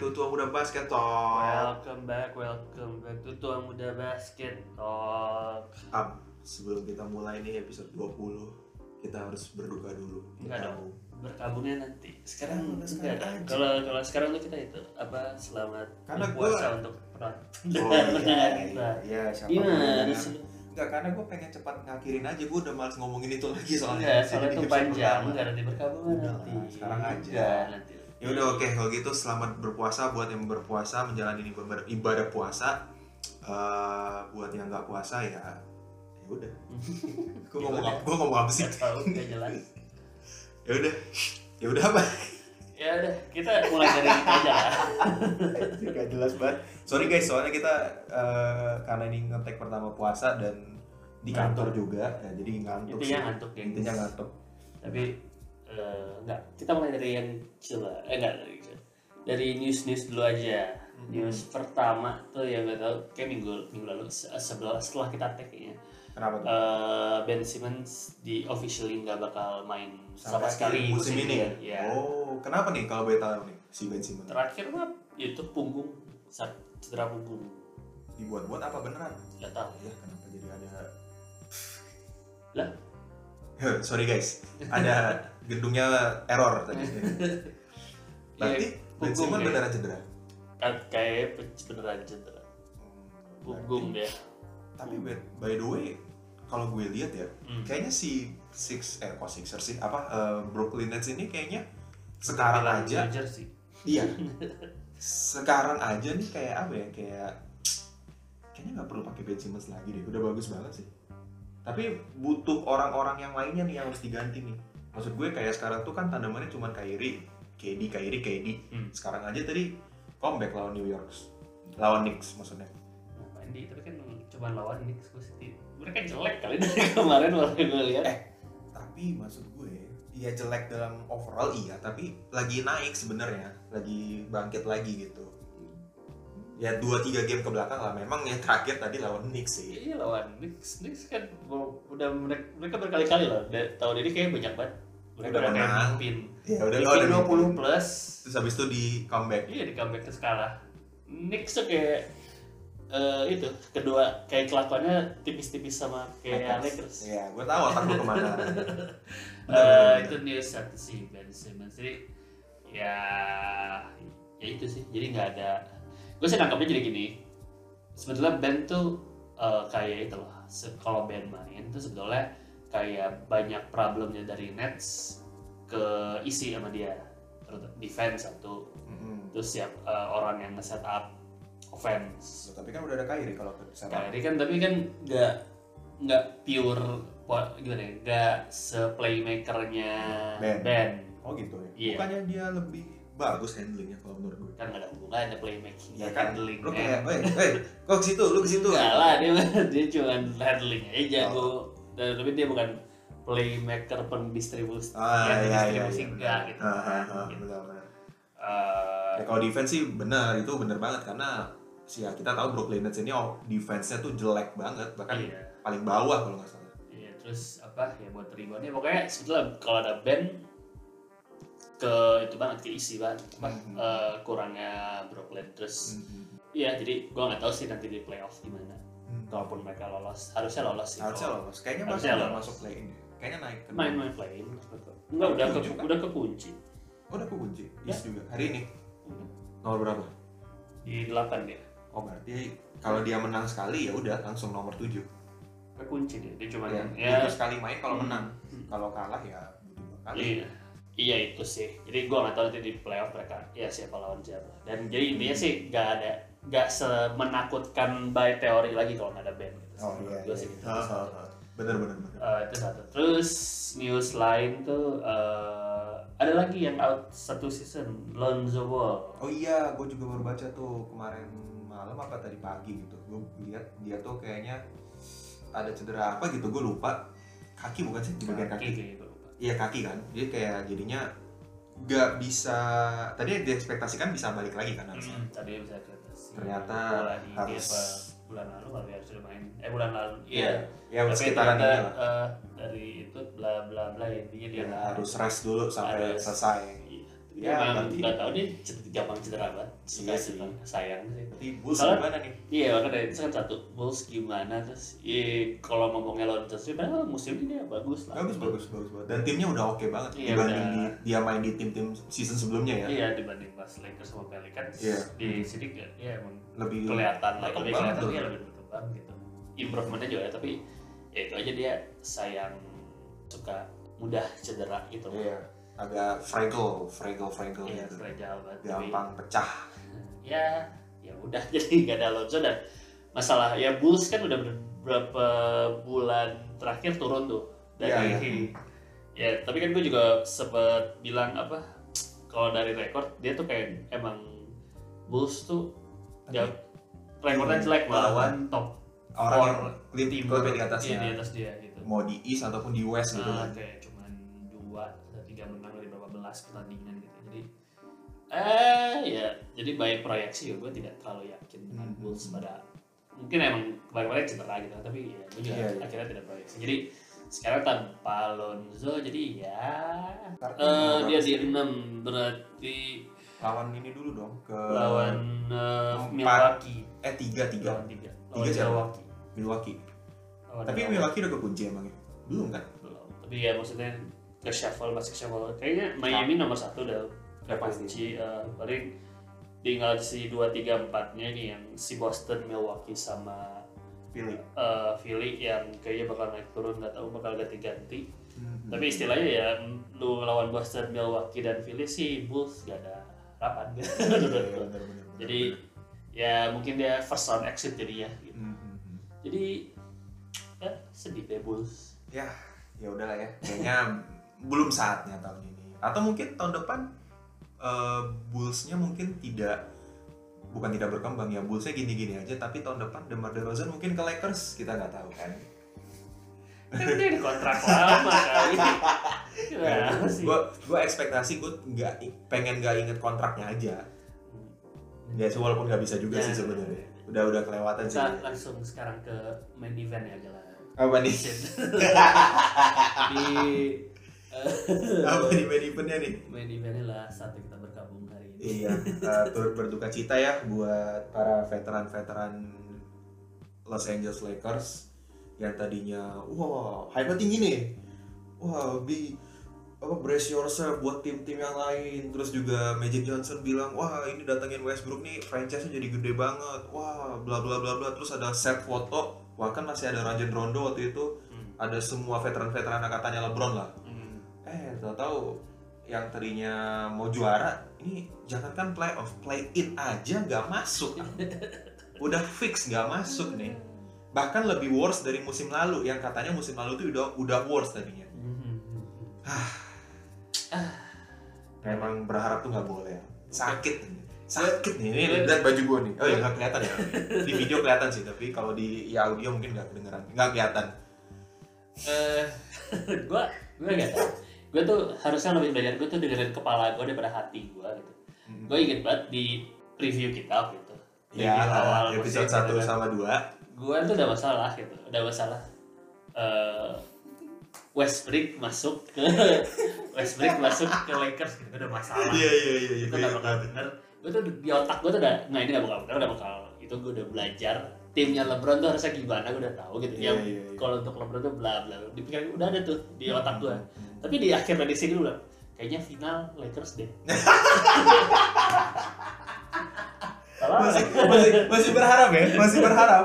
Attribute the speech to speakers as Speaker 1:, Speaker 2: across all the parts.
Speaker 1: to Tuang Muda Basket Talk.
Speaker 2: Welcome back, welcome back to Tuang Muda Basket Talk.
Speaker 1: Am, sebelum kita mulai nih episode 20, kita harus berduka dulu.
Speaker 2: Enggak dong. Berkabungnya nanti. Sekarang
Speaker 1: Hmm,
Speaker 2: enggak
Speaker 1: sekarang
Speaker 2: ada.
Speaker 1: aja.
Speaker 2: Kalau kalau sekarang tuh kita itu apa? Selamat
Speaker 3: Karena
Speaker 2: berpuasa untuk perang.
Speaker 1: Oh iya, iya, iya, siapa
Speaker 2: Gimana
Speaker 1: bilang?
Speaker 2: sih?
Speaker 1: Enggak, karena gue pengen cepat ngakhirin aja, gue udah males ngomongin itu lagi soalnya.
Speaker 2: Enggak,
Speaker 1: Iya,
Speaker 2: soalnya
Speaker 1: Jadi
Speaker 2: itu
Speaker 1: episode
Speaker 2: panjang,
Speaker 1: pertama.
Speaker 2: enggak nanti berkabung
Speaker 3: Udah
Speaker 2: nanti.
Speaker 1: lah, sekarang aja.
Speaker 2: Udah, nanti.
Speaker 1: Ya udah oke kalau gitu selamat berpuasa buat yang berpuasa menjalani ibadah- ibadah puasa. Eh, buat yang nggak puasa ya ya udah.
Speaker 2: Ya
Speaker 1: gue ngomong apa? Gue ngomong apa sih?
Speaker 2: Nggak tahu, nggak jelas.
Speaker 1: Ya udah. Ya udah apa?
Speaker 2: Ya udah, kita mulai dari itu aja lah.
Speaker 1: Gak jelas banget. Sorry guys, soalnya kita eh, karena ini ngetek pertama puasa dan di kantor juga, ya, jadi ngantuk.
Speaker 2: Intinya
Speaker 1: sih.
Speaker 2: ngantuk ya.
Speaker 1: Intinya ngantuk.
Speaker 2: tapi eh, enggak kita mulai dari yang chill lah eh enggak dari dari news news dulu aja
Speaker 1: Hmm.
Speaker 2: news pertama tuh yang nggak tahu kayak minggu minggu lalu se- sebelah setelah kita tag kayaknya
Speaker 1: Kenapa tuh?
Speaker 2: eh, Ben Simmons di officially nggak bakal main sama sekali
Speaker 1: musim ini.
Speaker 2: ya
Speaker 1: Oh, kenapa nih kalau boleh tahu nih si Ben Simmons?
Speaker 2: terakhir mah itu punggung sak- cedera punggung
Speaker 1: Dibuat-buat apa beneran?
Speaker 2: nggak tahu
Speaker 1: Ya kenapa jadi ada
Speaker 2: Lah?
Speaker 1: Heh, Sorry guys, ada gedungnya error tadi. Berarti Ben
Speaker 2: punggung
Speaker 1: Simmons
Speaker 2: ya.
Speaker 1: beneran cedera.
Speaker 2: Ka- kayak pe- beneran cedera
Speaker 1: Hmm,
Speaker 2: punggung
Speaker 1: berarti-
Speaker 2: deh
Speaker 1: Tapi by- by the way, kalau gue lihat ya,
Speaker 2: Hmm.
Speaker 1: kayaknya si Six eh kok Sixers sih apa eh, Brooklyn Nets ini kayaknya sekarang aja
Speaker 2: sih
Speaker 1: iya sekarang aja nih kayak apa ya kayak kayaknya nggak perlu pakai Ben Simmons lagi deh udah bagus banget sih tapi butuh orang-orang yang lainnya nih yang harus diganti nih maksud gue kayak sekarang tuh kan tandemannya cuma Kyrie KD Kyrie KD
Speaker 2: Hmm.
Speaker 1: sekarang aja tadi comeback lawan New York lawan Knicks maksudnya
Speaker 2: Apaan di tapi kan cuma lawan Knicks gue sih. Mereka jelek kali dari kemarin waktu gue lihat.
Speaker 1: Eh, tapi maksud gue ya jelek dalam overall iya tapi lagi naik sebenarnya lagi bangkit lagi gitu ya dua tiga game ke belakang lah memang yang terakhir tadi lawan Knicks sih
Speaker 2: Iya lawan Knicks, Knicks kan mau- udah mereka, mereka berkali-kali loh. Da- tahun ini kayaknya banyak banget. Mereka
Speaker 1: Udah
Speaker 2: udah kayak
Speaker 1: menang.
Speaker 2: mimpin.
Speaker 1: ya udah
Speaker 2: Mimpin
Speaker 1: lawan
Speaker 2: 20 plus.
Speaker 1: terus habis itu di comeback
Speaker 2: Iya di comeback ke skala. Knicks tuh kayak eh, itu kedua kayak kelakuannya tipis-tipis sama kayak Iya, Lakers.
Speaker 1: ya gue tahu otak lu kemana Bener,
Speaker 2: Eh,
Speaker 1: bener,
Speaker 2: itu news satu sih Ben Simmons jadi ya ya itu sih jadi nggak ada gue sih nangkapnya jadi gini sebetulnya Ben tuh eh, kayak itu lah Se- kalau Ben main tuh sebetulnya kayak banyak problemnya dari Nets ke isi sama dia Terut- defense satu
Speaker 1: Mm-mm.
Speaker 2: terus siap eh, orang yang nge-set up offense
Speaker 1: tapi kan udah ada Kyrie kalau ke sana
Speaker 2: Kyrie kan tapi kan nggak nggak pure po- gimana ya nggak se playmakernya
Speaker 1: Ben.
Speaker 2: Ben.
Speaker 1: oh gitu ya
Speaker 2: Iya.
Speaker 1: bukannya dia lebih bagus handlingnya kalau menurut gue
Speaker 2: kan nggak ada hubungannya playmaking
Speaker 1: ya
Speaker 2: dan
Speaker 1: kan
Speaker 2: handling
Speaker 1: lu kayak eh eh kok ke situ lu ke situ
Speaker 2: nggak lah dia dia cuma handling aja
Speaker 1: Oh.
Speaker 2: jago dan tapi dia bukan playmaker pendistribusi
Speaker 1: ah iya
Speaker 2: yang
Speaker 1: iya iya
Speaker 2: distribusi nggak gitu
Speaker 1: Ah, ah,
Speaker 2: kan,
Speaker 1: ah,
Speaker 2: gitu.
Speaker 1: benar, benar.
Speaker 2: Eh,
Speaker 1: Ya, kalau defense sih benar itu benar banget karena sih ya, kita tahu Brooklyn Nets ini oh, defense-nya tuh jelek banget bahkan
Speaker 2: iya
Speaker 1: paling bawah kalau nggak salah.
Speaker 2: Iya, terus apa ya buat reboundnya pokoknya sebetulnya kalau ada band ke itu banget ke isi banget apa,
Speaker 1: Mhm.
Speaker 2: eh, kurangnya Brooklyn
Speaker 1: Hmm.
Speaker 2: terus iya jadi gua nggak tahu sih nanti di playoff gimana kalaupun mereka lolos harusnya lolos sih
Speaker 1: hmm. Harusnya
Speaker 2: kalau-
Speaker 1: lolos. Kayaknya
Speaker 2: Harusnya
Speaker 1: masuk
Speaker 2: lolos.
Speaker 1: masuk play in. deh. Kayaknya naik. ke-
Speaker 2: main-main play enggak udah ke,
Speaker 1: Kekunci kan?
Speaker 2: udah kekunci
Speaker 1: Oh, udah kekunci.
Speaker 2: Ya.
Speaker 1: East juga. Hari ini nomor berapa?
Speaker 2: di delapan dia
Speaker 1: Oh, berarti kalau dia menang sekali ya udah langsung nomor 7.
Speaker 2: kekunci dia dia cuma
Speaker 1: Ya,
Speaker 2: ya,
Speaker 1: itu sekali main kalau
Speaker 2: Hmm.
Speaker 1: menang.
Speaker 2: Hmm.
Speaker 1: Kalau kalah ya butuh dua kali.
Speaker 2: Iya. Iya itu sih. Jadi gua nggak tahu nanti di playoff mereka ya siapa lawan siapa. Dan jadi intinya sih nggak ada nggak semenakutkan by teori lagi kalau nggak ada band. Gitu.
Speaker 1: Oh iya.
Speaker 2: Gua sih
Speaker 1: iya.
Speaker 2: gitu.
Speaker 1: Ah, ah, ah. Bener bener bener.
Speaker 2: Eh, itu satu. Terus news lain tuh eh, ada lagi yang out satu season Lonzo Ball.
Speaker 1: Oh iya, gue juga baru baca tuh kemarin malam apa tadi pagi gitu. Gue lihat dia tuh kayaknya ada cedera apa gitu, gue lupa. Kaki bukan sih? Di bagian
Speaker 2: Kaki
Speaker 1: kaki.
Speaker 2: gitu.
Speaker 1: Iya kaki kan. Jadi kayak jadinya nggak bisa. Tadi diekspektasikan bisa balik lagi kan harusnya.
Speaker 2: Mm, Tadi bisa kelihatan sih.
Speaker 1: Ternyata
Speaker 2: Bola di dia
Speaker 1: harus-
Speaker 2: apa, bulan lalu kalau dia sudah main. Eh bulan lalu. Iya.
Speaker 1: Ya
Speaker 2: Tapi
Speaker 1: sekitaran
Speaker 2: ternyata,
Speaker 1: ini lah.
Speaker 2: eh, dari itu bla bla bla intinya dia
Speaker 1: Ya,
Speaker 2: nggak-
Speaker 1: harus rest dulu sampai
Speaker 2: Harus.
Speaker 1: selesai. ya
Speaker 2: Iya, ya, emang
Speaker 1: berarti
Speaker 2: nggak tahu dia ced- gampang cedera banget suka
Speaker 1: Iya
Speaker 2: cedera sayang sih
Speaker 1: berarti Bulls
Speaker 2: Soalnya-
Speaker 1: gimana nih
Speaker 2: iya orang dari itu kan satu Bulls gimana terus iya kalau ngomongnya lawan Chelsea padahal musim ini dia bagus lah
Speaker 1: bagus bagus bagus banget dan timnya udah oke banget
Speaker 2: Iya,
Speaker 1: dibanding
Speaker 2: udah.
Speaker 1: di- dia main di tim-tim season sebelumnya ya
Speaker 2: iya dibanding pas Lakers sama Pelicans
Speaker 1: Iya.
Speaker 2: di sini nggak- ya emang
Speaker 1: lebih
Speaker 2: kelihatan lah
Speaker 1: Berkembang
Speaker 2: lebih kelihatan
Speaker 1: tuh.
Speaker 2: dia lebih berkembang gitu improvementnya juga ada, tapi ya itu aja dia sayang suka mudah cedera gitu
Speaker 1: iya agak fragile fragile fragile
Speaker 2: ya
Speaker 1: gitu
Speaker 2: fragile banget Tapi,
Speaker 1: gampang pecah
Speaker 2: ya ya udah jadi nggak ada Alonso dan masalah ya Bulls kan udah beberapa bulan terakhir turun tuh dari
Speaker 1: Iya,
Speaker 2: ya tapi kan gue juga sempet bilang apa kalau dari rekor dia tuh kayak emang Bulls tuh ya, rekornya jelek melawan top
Speaker 1: orang
Speaker 2: Or-
Speaker 1: yang lip
Speaker 2: tim
Speaker 1: klubnya di atasnya
Speaker 2: Iya, di atas dia gitu.
Speaker 1: mau di East ataupun di West gitu
Speaker 2: Ah,
Speaker 1: kan
Speaker 2: kayak cuman dua atau tiga menang dari berapa belas pertandingan gitu. Jadi eh ya jadi by proyeksi ya gue tidak terlalu yakin dengan
Speaker 1: Hmm.
Speaker 2: Bulls pada mungkin emang kemarin-kemarin cedera gitu tapi ya gue juga
Speaker 1: Iya, iya.
Speaker 2: akhirnya tidak proyeksi. Jadi sekarang tanpa Lonzo jadi ya
Speaker 1: Ntar
Speaker 2: eh dia
Speaker 1: kita
Speaker 2: di enam berarti
Speaker 1: lawan ini dulu dong ke
Speaker 2: lawan eh,
Speaker 1: empat.
Speaker 2: Milwaukee
Speaker 1: eh tiga tiga
Speaker 2: lawan tiga
Speaker 1: Tiga
Speaker 2: lawan
Speaker 1: siapa?
Speaker 2: Milwaukee
Speaker 1: Milwaukee
Speaker 2: Lawan
Speaker 1: tapi Milwaukee udah kekunci emangnya belum kan
Speaker 2: belum tapi ya maksudnya ke shuffle masih ke shuffle kayaknya Miami nomor satu udah udah
Speaker 1: Udah
Speaker 2: pasti Eh, paling tinggal si dua tiga empatnya nih yang si Boston Milwaukee sama
Speaker 1: pilih
Speaker 2: eh, Philly yang kayaknya bakal naik turun nggak tahu bakal ganti-ganti
Speaker 1: Hmm.
Speaker 2: tapi istilahnya ya mm, lu lawan Boston Milwaukee dan Philly sih Bulls gak ada harapan gitu
Speaker 1: Iya,
Speaker 2: menurut gua. jadi ya mungkin dia first round exit jadinya gitu.
Speaker 1: Hmm,
Speaker 2: jadi ya sedih deh Bulls
Speaker 1: ya ya udahlah ya kayaknya belum saatnya tahun ini atau mungkin tahun depan eh, Bulls-nya mungkin tidak bukan tidak berkembang ya Bulls-nya gini-gini aja tapi tahun depan Demar Derozan mungkin ke Lakers kita nggak tahu kan
Speaker 2: kan dia ada kontrak lama kali Gimana sih?
Speaker 1: gue gue ekspektasi gue nggak pengen nggak inget kontraknya aja ya sih walaupun nggak bisa juga
Speaker 2: Ya.
Speaker 1: sih sebenarnya udah udah kelewatan sih
Speaker 2: kita langsung sekarang ke main event ya Gela
Speaker 1: apa nih
Speaker 2: di eh,
Speaker 1: apa di main eventnya nih
Speaker 2: main eventnya lah saat kita bergabung hari ini
Speaker 1: iya eh, turut berduka cita ya buat para veteran-veteran Los Angeles Lakers yang tadinya wah hype tinggi nih wah be apa brace yourself buat tim-tim yang lain terus juga Magic Johnson bilang wah ini datangin Westbrook nih franchise nya jadi gede banget wah bla bla bla bla terus ada set foto bahkan masih ada Rajon Rondo waktu itu
Speaker 2: Hmm.
Speaker 1: ada semua veteran-veteran angkatannya LeBron lah
Speaker 2: Hmm.
Speaker 1: eh tahu-tahu yang tadinya mau juara ini jangankan playoff play in aja nggak masuk udah fix nggak masuk nih bahkan lebih worse dari musim lalu yang katanya musim lalu tuh udah udah worse tadinya
Speaker 2: Hmm.
Speaker 1: memang berharap tuh nggak boleh sakit nih sakit nih ini lihat baju gua nih oh ya nggak kelihatan ya di video kelihatan sih tapi kalau di ya audio mungkin nggak kedengeran nggak kelihatan
Speaker 2: Eh, gua gua gak tau gua tuh harusnya lebih belajar gua tuh dengerin kepala gua daripada hati gua gitu gua inget banget di preview kita gitu
Speaker 1: ya
Speaker 2: awal
Speaker 1: episode
Speaker 2: musim,
Speaker 1: 1
Speaker 2: gitu kan.
Speaker 1: sama 2
Speaker 2: gue tuh udah masalah gitu udah masalah eh Westbrook masuk ke Westbrook masuk ke Lakers gitu udah masalah
Speaker 1: iya iya iya
Speaker 2: itu
Speaker 1: iya.
Speaker 2: udah bakal bener gue tuh di otak gue tuh udah nah ini gak bakal bener udah bakal itu gue udah belajar timnya LeBron tuh harusnya gimana gue udah tahu gitu
Speaker 1: Iya,
Speaker 2: yang
Speaker 1: iya, iya.
Speaker 2: kalau untuk LeBron tuh bla bla bla. di pikiran gua udah ada tuh di otak gue
Speaker 1: Hmm.
Speaker 2: tapi di akhir dari sini udah kayaknya final Lakers deh Salah
Speaker 1: masih,
Speaker 2: nggak?
Speaker 1: masih, masih berharap ya masih berharap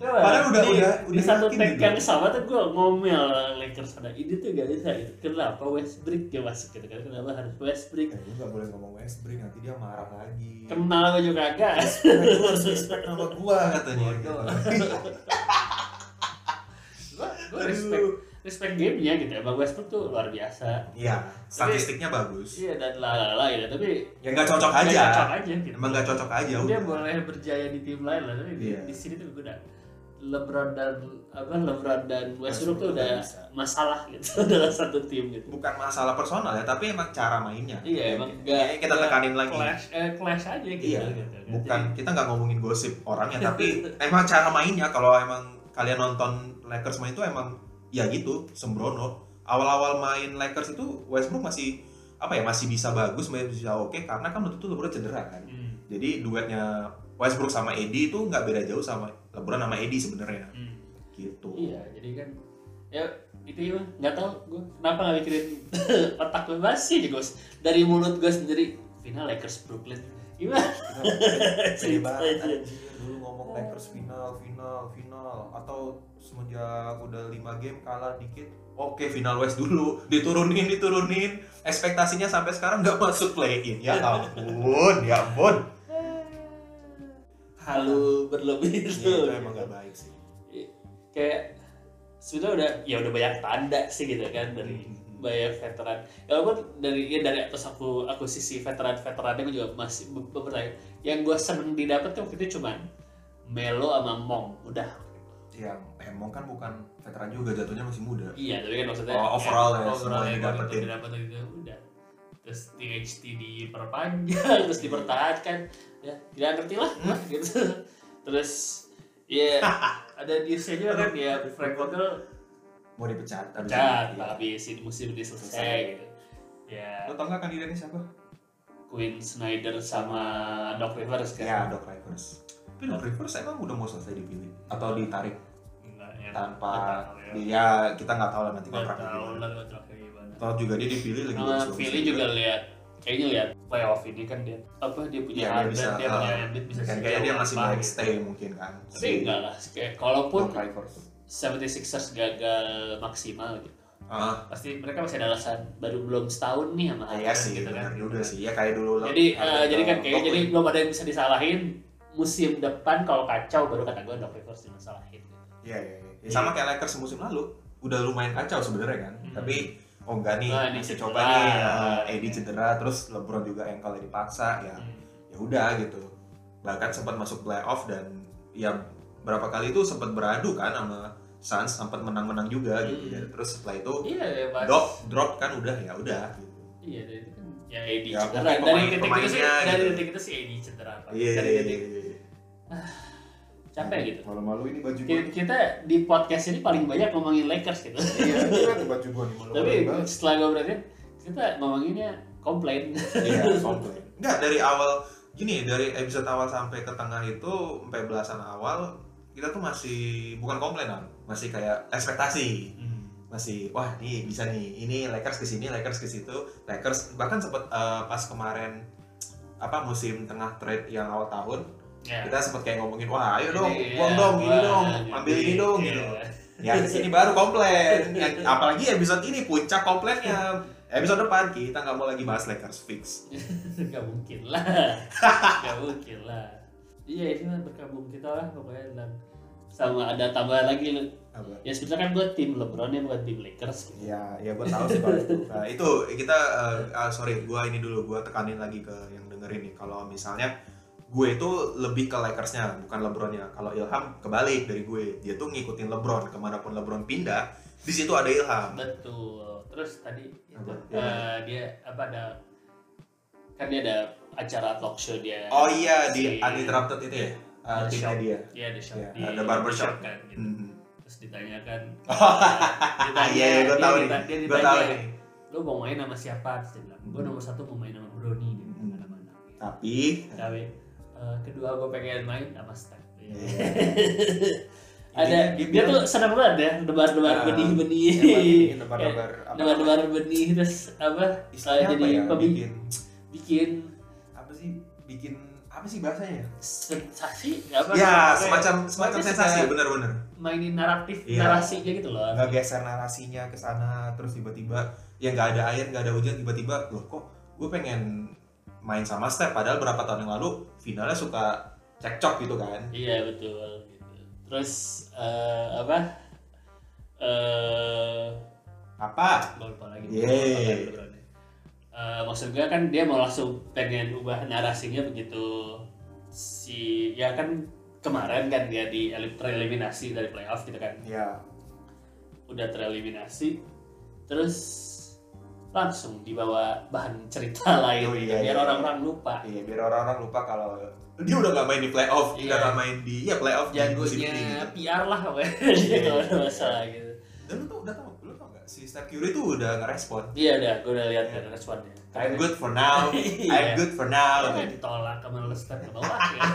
Speaker 1: Padahal udah- udah-
Speaker 2: di, Iya, di
Speaker 1: udah
Speaker 2: satu
Speaker 1: yakin
Speaker 2: tag
Speaker 1: gitu.
Speaker 2: yang sama tuh gue ngomel Lakers pada ini tuh gak bisa gitu. Kenapa Westbrook gak masuk gitu kan? Kenapa harus Westbrook?
Speaker 1: ya, lu gak boleh ngomong Westbrook nanti dia marah lagi
Speaker 2: Kenal gue juga kagak.
Speaker 1: lu harus respect nama gua katanya
Speaker 2: Bodoh.
Speaker 1: Aduh.
Speaker 2: Gue respect respect gamenya gitu. Emang Westbrook tuh luar biasa.
Speaker 1: iya statistiknya bagus
Speaker 2: Iya dan lalala gitu. Tapi
Speaker 1: ya nggak cocok
Speaker 2: nggak
Speaker 1: aja
Speaker 2: Cocok aja gitu.
Speaker 1: emang nggak cocok aja
Speaker 2: Dia
Speaker 1: udah.
Speaker 2: boleh berjaya di tim lain lah. Tapi di-
Speaker 1: Iya.
Speaker 2: di, sini tuh gue udah LeBron dan apa LeBron dan Westbrook tuh
Speaker 1: Westbrook
Speaker 2: udah
Speaker 1: nggak bisa.
Speaker 2: masalah gitu dalam satu tim gitu.
Speaker 1: bukan masalah personal ya tapi emang cara mainnya
Speaker 2: Iya, emang
Speaker 1: Ya,
Speaker 2: nggak-
Speaker 1: kita tekanin lagi
Speaker 2: clash eh, clash aja gitu,
Speaker 1: Iya,
Speaker 2: gitu. kan.
Speaker 1: bukan kita nggak ngomongin gosip orangnya tapi emang cara mainnya kalau emang kalian nonton Lakers main itu emang ya gitu sembrono awal-awal main Lakers itu Westbrook masih apa ya masih bisa bagus masih bisa oke karena kan waktu itu LeBron cedera kan
Speaker 2: Hmm,
Speaker 1: jadi duetnya Westbrook sama Eddie itu nggak beda jauh sama LeBron sama Eddie sebenarnya
Speaker 2: hmm.
Speaker 1: gitu
Speaker 2: Iya, jadi kan ya itu ya nggak tahu gue kenapa nggak mikirin otak gue masih aja gue dari mulut gue sendiri final Lakers Brooklyn gimana
Speaker 1: Kita pede
Speaker 2: Cerita ya.
Speaker 1: banget
Speaker 2: aja.
Speaker 1: anjir. dulu ngomong Lakers final final final atau semenjak udah 5 game kalah dikit oke final West dulu diturunin diturunin ekspektasinya sampai sekarang nggak masuk play in ya ampun ya ampun
Speaker 2: halu berlebih
Speaker 1: Ya,
Speaker 2: itu
Speaker 1: itu emang nggak baik sih
Speaker 2: kayak sebenarnya udah ya udah banyak tanda sih gitu kan dari
Speaker 1: Hmm.
Speaker 2: banyak veteran ya walaupun dari ya dari atas aku aku sisi veteran veterannya gue juga masih be- bertanya yang gue seneng didapat tuh waktu itu cuman Melo sama Mong udah
Speaker 1: ya emang kan bukan veteran juga jatuhnya masih muda
Speaker 2: iya tapi kan maksudnya
Speaker 1: Oh, overall ya,
Speaker 2: overall
Speaker 1: semua
Speaker 2: yang
Speaker 1: didapetin.
Speaker 2: didapetin didapetin itu udah terus THT diperpanjang terus dipertahankan ya tidak ngerti lah
Speaker 1: Hmm.
Speaker 2: gitu terus ya ada newsnya juga kan ya Frank Vogel
Speaker 1: mau dipecat abis
Speaker 2: pecat
Speaker 1: ini. Iya.
Speaker 2: habis ini musim ini selesai
Speaker 1: Selesai.
Speaker 2: gitu ya
Speaker 1: lo tau nggak kandidatnya siapa
Speaker 2: Queen Snyder sama Doc Rivers kan
Speaker 1: ya Doc Rivers tapi Doc Rivers emang udah mau selesai dipilih atau ditarik
Speaker 2: Enggak, ya,
Speaker 1: tanpa
Speaker 2: nggak
Speaker 1: ya kita nggak tahu lah nanti
Speaker 2: tahu ya. Nggak
Speaker 1: kontraknya
Speaker 2: tahu
Speaker 1: gimana
Speaker 2: lah kontraknya gimana
Speaker 1: atau juga dia dipilih lagi
Speaker 2: Sama
Speaker 1: bagus-bagus
Speaker 2: Nah, Philly juga lihat kayaknya lihat playoff ini kan dia apa dia punya
Speaker 1: Iya, dia
Speaker 2: Harden,
Speaker 1: bisa,
Speaker 2: dia punya
Speaker 1: uh,
Speaker 2: Embiid bisa
Speaker 1: kan kayaknya
Speaker 2: sejauh
Speaker 1: dia masih
Speaker 2: apa
Speaker 1: mau
Speaker 2: gitu.
Speaker 1: stay mungkin kan
Speaker 2: tapi enggak lah kayak kalaupun
Speaker 1: Doc Rivers
Speaker 2: 76ers gagal maksimal gitu
Speaker 1: ah
Speaker 2: pasti mereka masih ada alasan baru belum setahun nih sama
Speaker 1: ah, iya
Speaker 2: Harden
Speaker 1: sih
Speaker 2: gitu kan
Speaker 1: benar juga sih ya kayak gitu. dulu lah
Speaker 2: jadi eh,
Speaker 1: Harden
Speaker 2: jadi kan
Speaker 1: sama
Speaker 2: kayaknya
Speaker 1: Doc
Speaker 2: jadi
Speaker 1: Rivers.
Speaker 2: belum ada yang bisa disalahin musim depan kalau kacau baru kata gue Doc Rivers yang disalahin gitu.
Speaker 1: iya iya iya. Ya, sama kayak Lakers musim lalu udah lumayan kacau sebenarnya kan
Speaker 2: Hmm.
Speaker 1: tapi oh enggak nih
Speaker 2: Wah, ini
Speaker 1: masih
Speaker 2: cedera. iya.
Speaker 1: coba nih eh, Eddie cedera terus LeBron juga ankle dipaksa ya
Speaker 2: Hmm.
Speaker 1: ya udah gitu bahkan sempat masuk playoff dan ya berapa kali itu sempat beradu kan sama Suns sempat menang-menang juga gitu
Speaker 2: Hmm.
Speaker 1: ya terus setelah itu
Speaker 2: iya ya pas
Speaker 1: drop drop kan udah ya udah gitu.
Speaker 2: iya dari itu kan ya Edi
Speaker 1: Ya,
Speaker 2: cedera
Speaker 1: mungkin
Speaker 2: dari
Speaker 1: pemain-
Speaker 2: detik itu sih
Speaker 1: pemainnya
Speaker 2: dari
Speaker 1: gitu.
Speaker 2: detik itu sih Edi cedera Pak.
Speaker 1: iya
Speaker 2: dari
Speaker 1: iya,
Speaker 2: detik
Speaker 1: iya, iya.
Speaker 2: capek gitu
Speaker 1: malu-malu ini baju
Speaker 2: Ki- kita di podcast ini paling banyak ngomongin Lakers gitu
Speaker 1: iya ini kan baju gua nih malu-malu
Speaker 2: tapi
Speaker 1: banget.
Speaker 2: setelah gue berhatiin kita ngomonginnya komplain
Speaker 1: iya komplain enggak dari awal gini dari episode awal sampai ke tengah itu sampai belasan awal kita tuh masih bukan komplain Al. masih kayak ekspektasi masih wah nih bisa nih ini Lakers ke sini Lakers ke situ Lakers bahkan sempat eh, pas kemarin apa musim tengah trade yang awal tahun
Speaker 2: ya.
Speaker 1: kita sempat kayak ngomongin wah ayo dong
Speaker 2: Jadi,
Speaker 1: buang
Speaker 2: ya,
Speaker 1: dong ini
Speaker 2: wah,
Speaker 1: dong
Speaker 2: jadi,
Speaker 1: ambil ini dong
Speaker 2: iya.
Speaker 1: gitu ya di sini baru komplain Ya, apalagi episode ini puncak komplainnya episode depan kita nggak mau lagi bahas Lakers fix
Speaker 2: Gak mungkin lah Gak mungkin lah Iya itu lah berkabung kita lah pokoknya tentang sama ada tambahan lagi lu.
Speaker 1: apa
Speaker 2: ya sebenarnya kan gue tim LeBron ya bukan tim Lakers gitu.
Speaker 1: ya ya gue tahu sih kalau itu nah, itu kita eh, ah, sorry gue ini dulu gue tekanin lagi ke yang dengerin nih kalau misalnya gue itu lebih ke Lakersnya bukan Lebronnya kalau Ilham kebalik dari gue dia tuh ngikutin Lebron kemanapun Lebron pindah di situ ada Ilham
Speaker 2: betul terus tadi itu
Speaker 1: Apa?
Speaker 2: eh, dia apa ada kan dia ada acara talk show dia
Speaker 1: oh iya di
Speaker 2: Si-
Speaker 1: uninterrupted itu ya Ah,
Speaker 2: Ada
Speaker 1: timnya
Speaker 2: shop.
Speaker 1: dia
Speaker 2: dia ada show
Speaker 1: Iya,
Speaker 2: di
Speaker 1: ada barbershop.
Speaker 2: di kan gitu.
Speaker 1: Mhm.
Speaker 2: terus ditanyakan
Speaker 1: Ah, iya, iya, gua
Speaker 2: dia
Speaker 1: tahu
Speaker 2: dita- dia
Speaker 1: gue tahu
Speaker 2: ditanya,
Speaker 1: nih
Speaker 2: lu mau main sama siapa terus dia bilang gue nomor satu mau main sama Brony dia bilang
Speaker 1: Hmm.
Speaker 2: mana-mana
Speaker 1: tapi
Speaker 2: Tapi eh, kedua gue pengen main sama Steph.
Speaker 1: Iya.
Speaker 2: Iya.
Speaker 1: Intinya
Speaker 2: Ada dia,
Speaker 1: bilang,
Speaker 2: tuh senang banget ya
Speaker 1: Ah,
Speaker 2: debar-debar
Speaker 1: "Emang ini
Speaker 2: benih-benih.
Speaker 1: nebar-nebar apa-
Speaker 2: Debar-debar benih terus apa
Speaker 1: istilahnya apa
Speaker 2: jadi
Speaker 1: ya,
Speaker 2: pemi-
Speaker 1: bikin
Speaker 2: bikin
Speaker 1: apa sih bikin apa sih bahasanya
Speaker 2: sensasi nggak apa
Speaker 1: ya
Speaker 2: apa
Speaker 1: semacam semacam
Speaker 2: Tapi
Speaker 1: sensasi
Speaker 2: suka-
Speaker 1: benar-benar
Speaker 2: mainin naratif
Speaker 1: Iya.
Speaker 2: narasinya gitu loh.
Speaker 1: nggak geser narasinya ke sana terus tiba-tiba ya nggak ada air nggak ada hujan tiba-tiba loh kok gue pengen main sama Steph padahal berapa tahun yang lalu finalnya suka cekcok gitu kan
Speaker 2: Iya betul gitu. Terus eh, apa? Eh
Speaker 1: apa
Speaker 2: gue lupa lagi.
Speaker 1: Iya, Yeay.
Speaker 2: Lupa lagi. Eh, maksud gue kan dia mau langsung pengen ubah narasinya begitu si ya kan kemarin kan dia di elim- tereliminasi dari playoff gitu kan
Speaker 1: ya
Speaker 2: udah tereliminasi terus langsung dibawa bahan cerita lain
Speaker 1: Oh,
Speaker 2: gitu,
Speaker 1: iya,
Speaker 2: biar
Speaker 1: iya.
Speaker 2: orang-orang lupa
Speaker 1: iya biar orang-orang lupa kalau dia udah nggak main di playoff
Speaker 2: Iya.
Speaker 1: udah nggak main di ya playoff di musim ini
Speaker 2: jagonya
Speaker 1: gitu.
Speaker 2: PR lah pokoknya dia
Speaker 1: Iya,
Speaker 2: kalau ada
Speaker 1: iya.
Speaker 2: masalah gitu
Speaker 1: dan lu tuh udah tau lu tau nggak si Steph Curry tuh udah ngerespon.
Speaker 2: Iya udah, gue udah lihat yeah. responnya.
Speaker 1: I'm good for now. I'm
Speaker 2: Iya.
Speaker 1: good for now.
Speaker 2: Kalau ditolak sama Lestat ke bawah ya.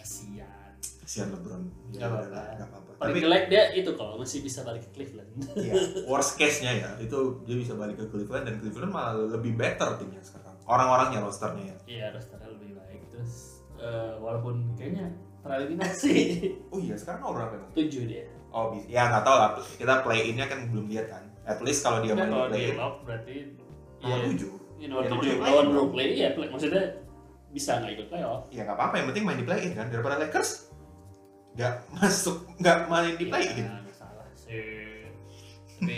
Speaker 2: Kasian.
Speaker 1: Kasihan LeBron.
Speaker 2: Nggak
Speaker 1: Ya udah
Speaker 2: apa-apa.
Speaker 1: lah, nggak apa-apa.
Speaker 2: Iya, Paling
Speaker 1: Tapi
Speaker 2: jelek dia itu kalau masih bisa balik ke Cleveland.
Speaker 1: ya, worst case-nya ya, itu dia bisa balik ke Cleveland dan Cleveland malah lebih better timnya sekarang. Orang-orangnya rosternya ya.
Speaker 2: Iya, rosternya lebih baik. Terus eh, walaupun kayaknya tereliminasi
Speaker 1: Oh iya, sekarang orang apa emang?
Speaker 2: tujuh dia.
Speaker 1: Oh, bis- ya nggak tahu lah. Kita play in-nya kan belum lihat kan. At least kalau dia
Speaker 2: Kan
Speaker 1: main Iya. di
Speaker 2: kalau
Speaker 1: play
Speaker 2: di
Speaker 1: in,
Speaker 2: lock berarti
Speaker 1: nomor
Speaker 2: ya,
Speaker 1: tujuh.
Speaker 2: ya, nomor
Speaker 1: Ya, nomor
Speaker 2: tujuh
Speaker 1: tujuh.
Speaker 2: lawan Brooklyn ya play- maksudnya bisa nggak ikut playoff.
Speaker 1: Ya nggak apa-apa, yang penting main di play in kan. Daripada Lakers nggak masuk, nggak main di play in.
Speaker 2: Ya, nggak salah sih. Tapi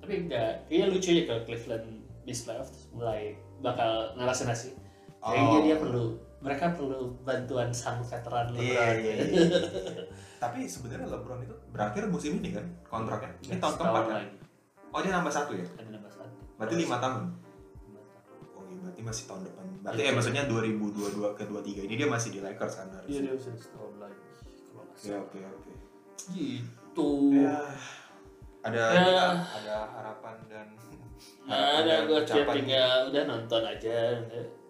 Speaker 2: tapi enggak, kayaknya lucu ya kalau Cleveland miss playoff terus mulai bakal ngerasain nasi.
Speaker 1: Oh.
Speaker 2: Kayaknya iya, dia perlu mereka perlu bantuan sang veteran
Speaker 1: Iya,
Speaker 2: LeBron.
Speaker 1: iya, iya. Tapi sebenarnya LeBron itu berakhir musim ini kan kontraknya. Ini tahun keempat
Speaker 2: Setahun
Speaker 1: kan.
Speaker 2: lagi. kan
Speaker 1: Oh dia nambah satu ya.
Speaker 2: Ada nambah satu.
Speaker 1: Berarti lima tahun.
Speaker 2: Lima tahun.
Speaker 1: Oh iya, berarti masih tahun depan. Berarti
Speaker 2: Iya.
Speaker 1: ya maksudnya 2022 ke 23 ini dia masih di Lakers kan
Speaker 2: Iya
Speaker 1: harusnya.
Speaker 2: dia usia setahun lagi. Kalau nggak
Speaker 1: Oke
Speaker 2: salah.
Speaker 1: Iya, oke oke.
Speaker 2: Gitu.
Speaker 1: Ya, Ada
Speaker 2: Ya.
Speaker 1: ada harapan dan
Speaker 2: Nah, ada
Speaker 1: Ada
Speaker 2: gue tiap
Speaker 1: ucapan.
Speaker 2: tinggal udah nonton aja.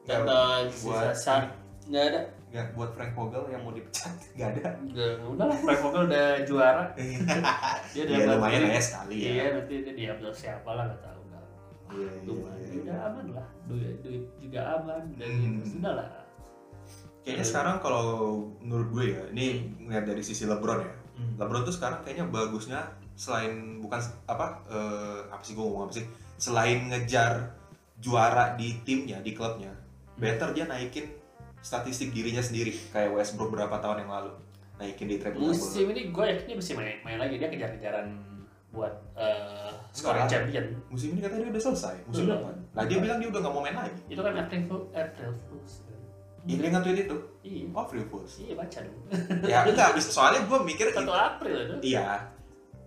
Speaker 1: Nggak
Speaker 2: Nonton sisa
Speaker 1: buat-
Speaker 2: sang. Nggak ada.
Speaker 1: nggak buat Frank Vogel yang mau dipecat nggak ada.
Speaker 2: Nggak. Udah lah. Frank Vogel udah juara. Dia udah
Speaker 1: Iya lumayan lah
Speaker 2: bantuin.
Speaker 1: ya sekali ya.
Speaker 2: Iya nanti dia diambil siapa lah nggak tahu. Nggak.
Speaker 1: Iya
Speaker 2: Lumayan.
Speaker 1: iya,
Speaker 2: Udah
Speaker 1: iya.
Speaker 2: aman lah. Duit, duit juga aman. Dan
Speaker 1: Hmm.
Speaker 2: gitu. Sudah lah.
Speaker 1: Kayaknya sekarang kalau menurut gue ya, ini
Speaker 2: Hmm.
Speaker 1: ngeliat dari sisi LeBron ya. LeBron tuh sekarang kayaknya bagusnya selain bukan apa eh, apa sih gue ngomong apa sih selain ngejar juara di timnya di klubnya better dia naikin statistik dirinya sendiri kayak Westbrook berapa tahun yang lalu naikin di triple double
Speaker 2: Musim ini gue yakin dia mesti main, main lagi dia kejar-kejaran buat eh
Speaker 1: Enggak
Speaker 2: scoring
Speaker 1: lah.
Speaker 2: champion.
Speaker 1: musim ini katanya dia udah selesai musim
Speaker 2: Belum.
Speaker 1: depan lah dia bilang dia udah nggak mau main lagi
Speaker 2: Itu kan April Fool- April Fools. kan?
Speaker 1: ini dengan tweet itu
Speaker 2: Iya.
Speaker 1: oh free fools
Speaker 2: Iya baca dong.
Speaker 1: ya enggak abis soalnya gue mikir
Speaker 2: Satu April itu.
Speaker 1: iya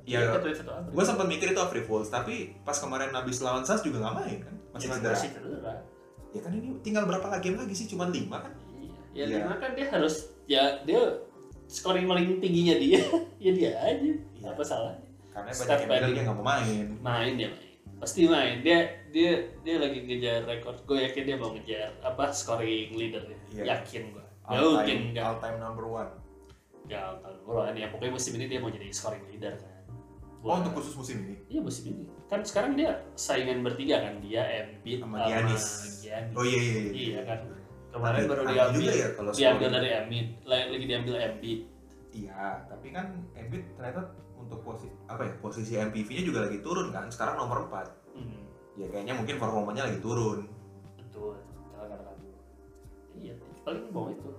Speaker 2: Iya,
Speaker 1: iya
Speaker 2: ketua satu April.
Speaker 1: gue sempat mikir itu free fools tapi pas kemarin abis lawan Suns juga nggak main kan masih
Speaker 2: Jadi
Speaker 1: cedera
Speaker 2: Iya, masih cedera.
Speaker 1: ya kan ini tinggal berapa lagi lagi sih cuma lima kan
Speaker 2: Iya. Ya
Speaker 1: Iya.
Speaker 2: lima kan dia harus ya dia scoring paling tingginya dia ya dia aja.
Speaker 1: Iya.
Speaker 2: Apa salahnya?
Speaker 1: karena
Speaker 2: Step
Speaker 1: banyak yang bilang
Speaker 2: back.
Speaker 1: dia nggak mau main
Speaker 2: Main dia main. Pasti main. Dia dia dia lagi ngejar rekor. Gue yakin dia mau ngejar apa scoring leadernya.
Speaker 1: Iya.
Speaker 2: Yakin gue.
Speaker 1: all
Speaker 2: Yakin
Speaker 1: time,
Speaker 2: Ya nggak
Speaker 1: all time number one
Speaker 2: Ya, tahun bulan ya. Pokoknya musim ini dia mau jadi scoring leader kan.
Speaker 1: oh
Speaker 2: Buat-
Speaker 1: untuk khusus musim ini
Speaker 2: Iya musim ini. Kan sekarang dia saingan bertiga kan dia Embiid
Speaker 1: Sama Giannis.
Speaker 2: Giannis.
Speaker 1: oh iya iya
Speaker 2: Iya kan. Kemarin
Speaker 1: kemarin
Speaker 2: baru
Speaker 1: juga
Speaker 2: diambil
Speaker 1: ya kalau
Speaker 2: diambil
Speaker 1: scoring.
Speaker 2: dari Embiid, lagi lagi diambil Embiid.
Speaker 1: iya tapi kan Embiid ternyata untuk posisi apa ya posisi MPV-nya juga lagi turun kan sekarang nomor 4
Speaker 2: Hmm,
Speaker 1: ya kayaknya mungkin performanya lagi turun
Speaker 2: betul. Kalau kata kamu. Iya, paling mau itu.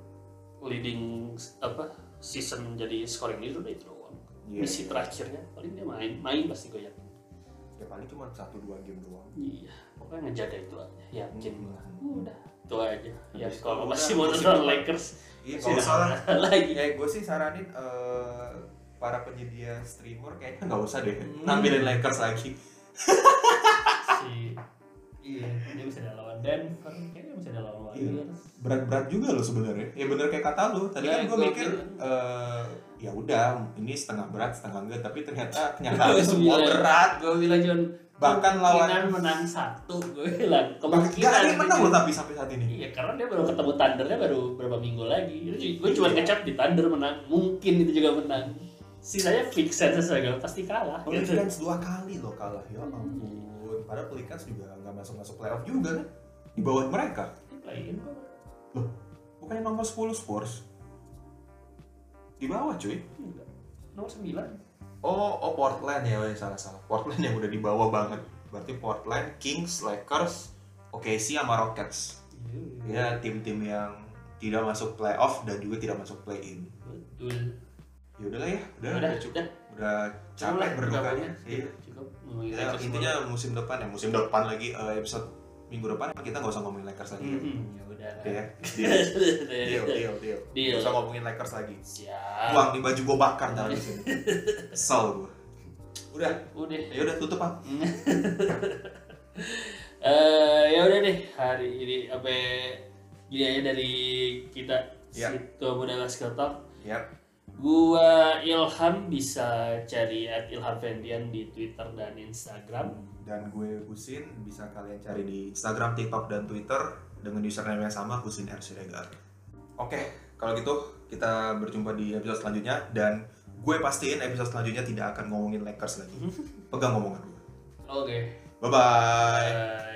Speaker 2: Leading apa season jadi scoring leader itu doang.
Speaker 1: Iya.
Speaker 2: Misi terakhirnya paling dia main, main pasti gue yakin.
Speaker 1: ya paling cuma satu dua game doang
Speaker 2: Iya, pokoknya ngejaga itu aja. Yakin
Speaker 1: Hmm.
Speaker 2: gua. Udah, itu aja. Ya
Speaker 1: Habis itu
Speaker 2: kalau
Speaker 1: udah,
Speaker 2: masih mau
Speaker 1: musim
Speaker 2: nonton
Speaker 1: depan.
Speaker 2: Lakers
Speaker 1: iya
Speaker 2: masih
Speaker 1: kalau salah
Speaker 2: ada lagi.
Speaker 1: ya gue sih saranin eh, para penyedia streamer kayaknya nggak usah deh
Speaker 2: Hmm.
Speaker 1: nampilin Lakers lagi
Speaker 2: si iya dia bisa ada lawan Denver kayaknya bisa ada lawan
Speaker 1: Iya.
Speaker 2: Warriors
Speaker 1: berat-berat juga loh sebenarnya ya bener kayak kata lu tadi kan
Speaker 2: Ya,
Speaker 1: gue
Speaker 2: gua
Speaker 1: mikir
Speaker 2: bilang.
Speaker 1: eh, ya udah ini setengah berat setengah enggak tapi ternyata kenyataannya
Speaker 2: Gua
Speaker 1: semua
Speaker 2: bilang,
Speaker 1: berat
Speaker 2: gue bilang John
Speaker 1: bahkan
Speaker 2: kemungkinan
Speaker 1: lawan
Speaker 2: menang satu gue bilang
Speaker 1: bahkan nggak ada yang
Speaker 2: gitu.
Speaker 1: menang loh tapi sampai saat ini
Speaker 2: iya karena dia baru ketemu Thundernya baru berapa minggu lagi gue cuma ngecap di Thunder menang mungkin itu juga menang sisanya fix sense gagal pasti kalah
Speaker 1: Oh,
Speaker 2: gitu
Speaker 1: Pelicans dua kali loh kalah ya
Speaker 2: Hmm.
Speaker 1: ampun padahal Pelicans juga nggak masuk masuk playoff juga kan di bawah mereka
Speaker 2: Play-in kok.
Speaker 1: bukannya nomor 10 Spurs di bawah cuy
Speaker 2: Enggak. nomor sembilan
Speaker 1: oh oh Portland ya oh, salah salah Portland yang udah di bawah banget berarti Portland Kings Lakers OKC sama Rockets ya tim-tim yang tidak masuk playoff dan juga tidak masuk play in
Speaker 2: betul
Speaker 1: ya udahlah ya udah,
Speaker 2: udah
Speaker 1: udah cukup
Speaker 2: udah
Speaker 1: udah
Speaker 2: cukup
Speaker 1: capek
Speaker 2: lah
Speaker 1: berdukanya
Speaker 2: gabungnya.
Speaker 1: iya
Speaker 2: cukup ngomongin
Speaker 1: Ya,
Speaker 2: Lakers
Speaker 1: intinya musim depan ya musim depan lagi eh, episode minggu depan kita nggak usah ngomongin Lakers
Speaker 2: mulu.
Speaker 1: lagi
Speaker 2: Mhm, ya udah
Speaker 1: oke ya deal deal
Speaker 2: Iya.
Speaker 1: deal deal
Speaker 2: Deal. Ah.
Speaker 1: nggak usah ngomongin Lakers lagi
Speaker 2: Siap.
Speaker 1: buang nih baju gue bakar ntar di sini kesel gue udah
Speaker 2: Udah.
Speaker 1: ya udah tutup ah
Speaker 2: Eh ya udah deh hari ini apa gini aja dari kita
Speaker 1: Ya.
Speaker 2: situ muda basket talk.
Speaker 1: Yap.
Speaker 2: Gua Ilham bisa cari at Ilham Fendian di Twitter dan Instagram.
Speaker 1: Dan gue Husin bisa kalian cari di Instagram, TikTok, dan Twitter dengan username yang sama Husin R Siregar. Oke, kalau gitu kita berjumpa di episode selanjutnya dan gue pastiin episode selanjutnya tidak akan ngomongin Lakers lagi. Pegang omongan gue.
Speaker 2: Oke.
Speaker 1: Bye bye.
Speaker 2: eh,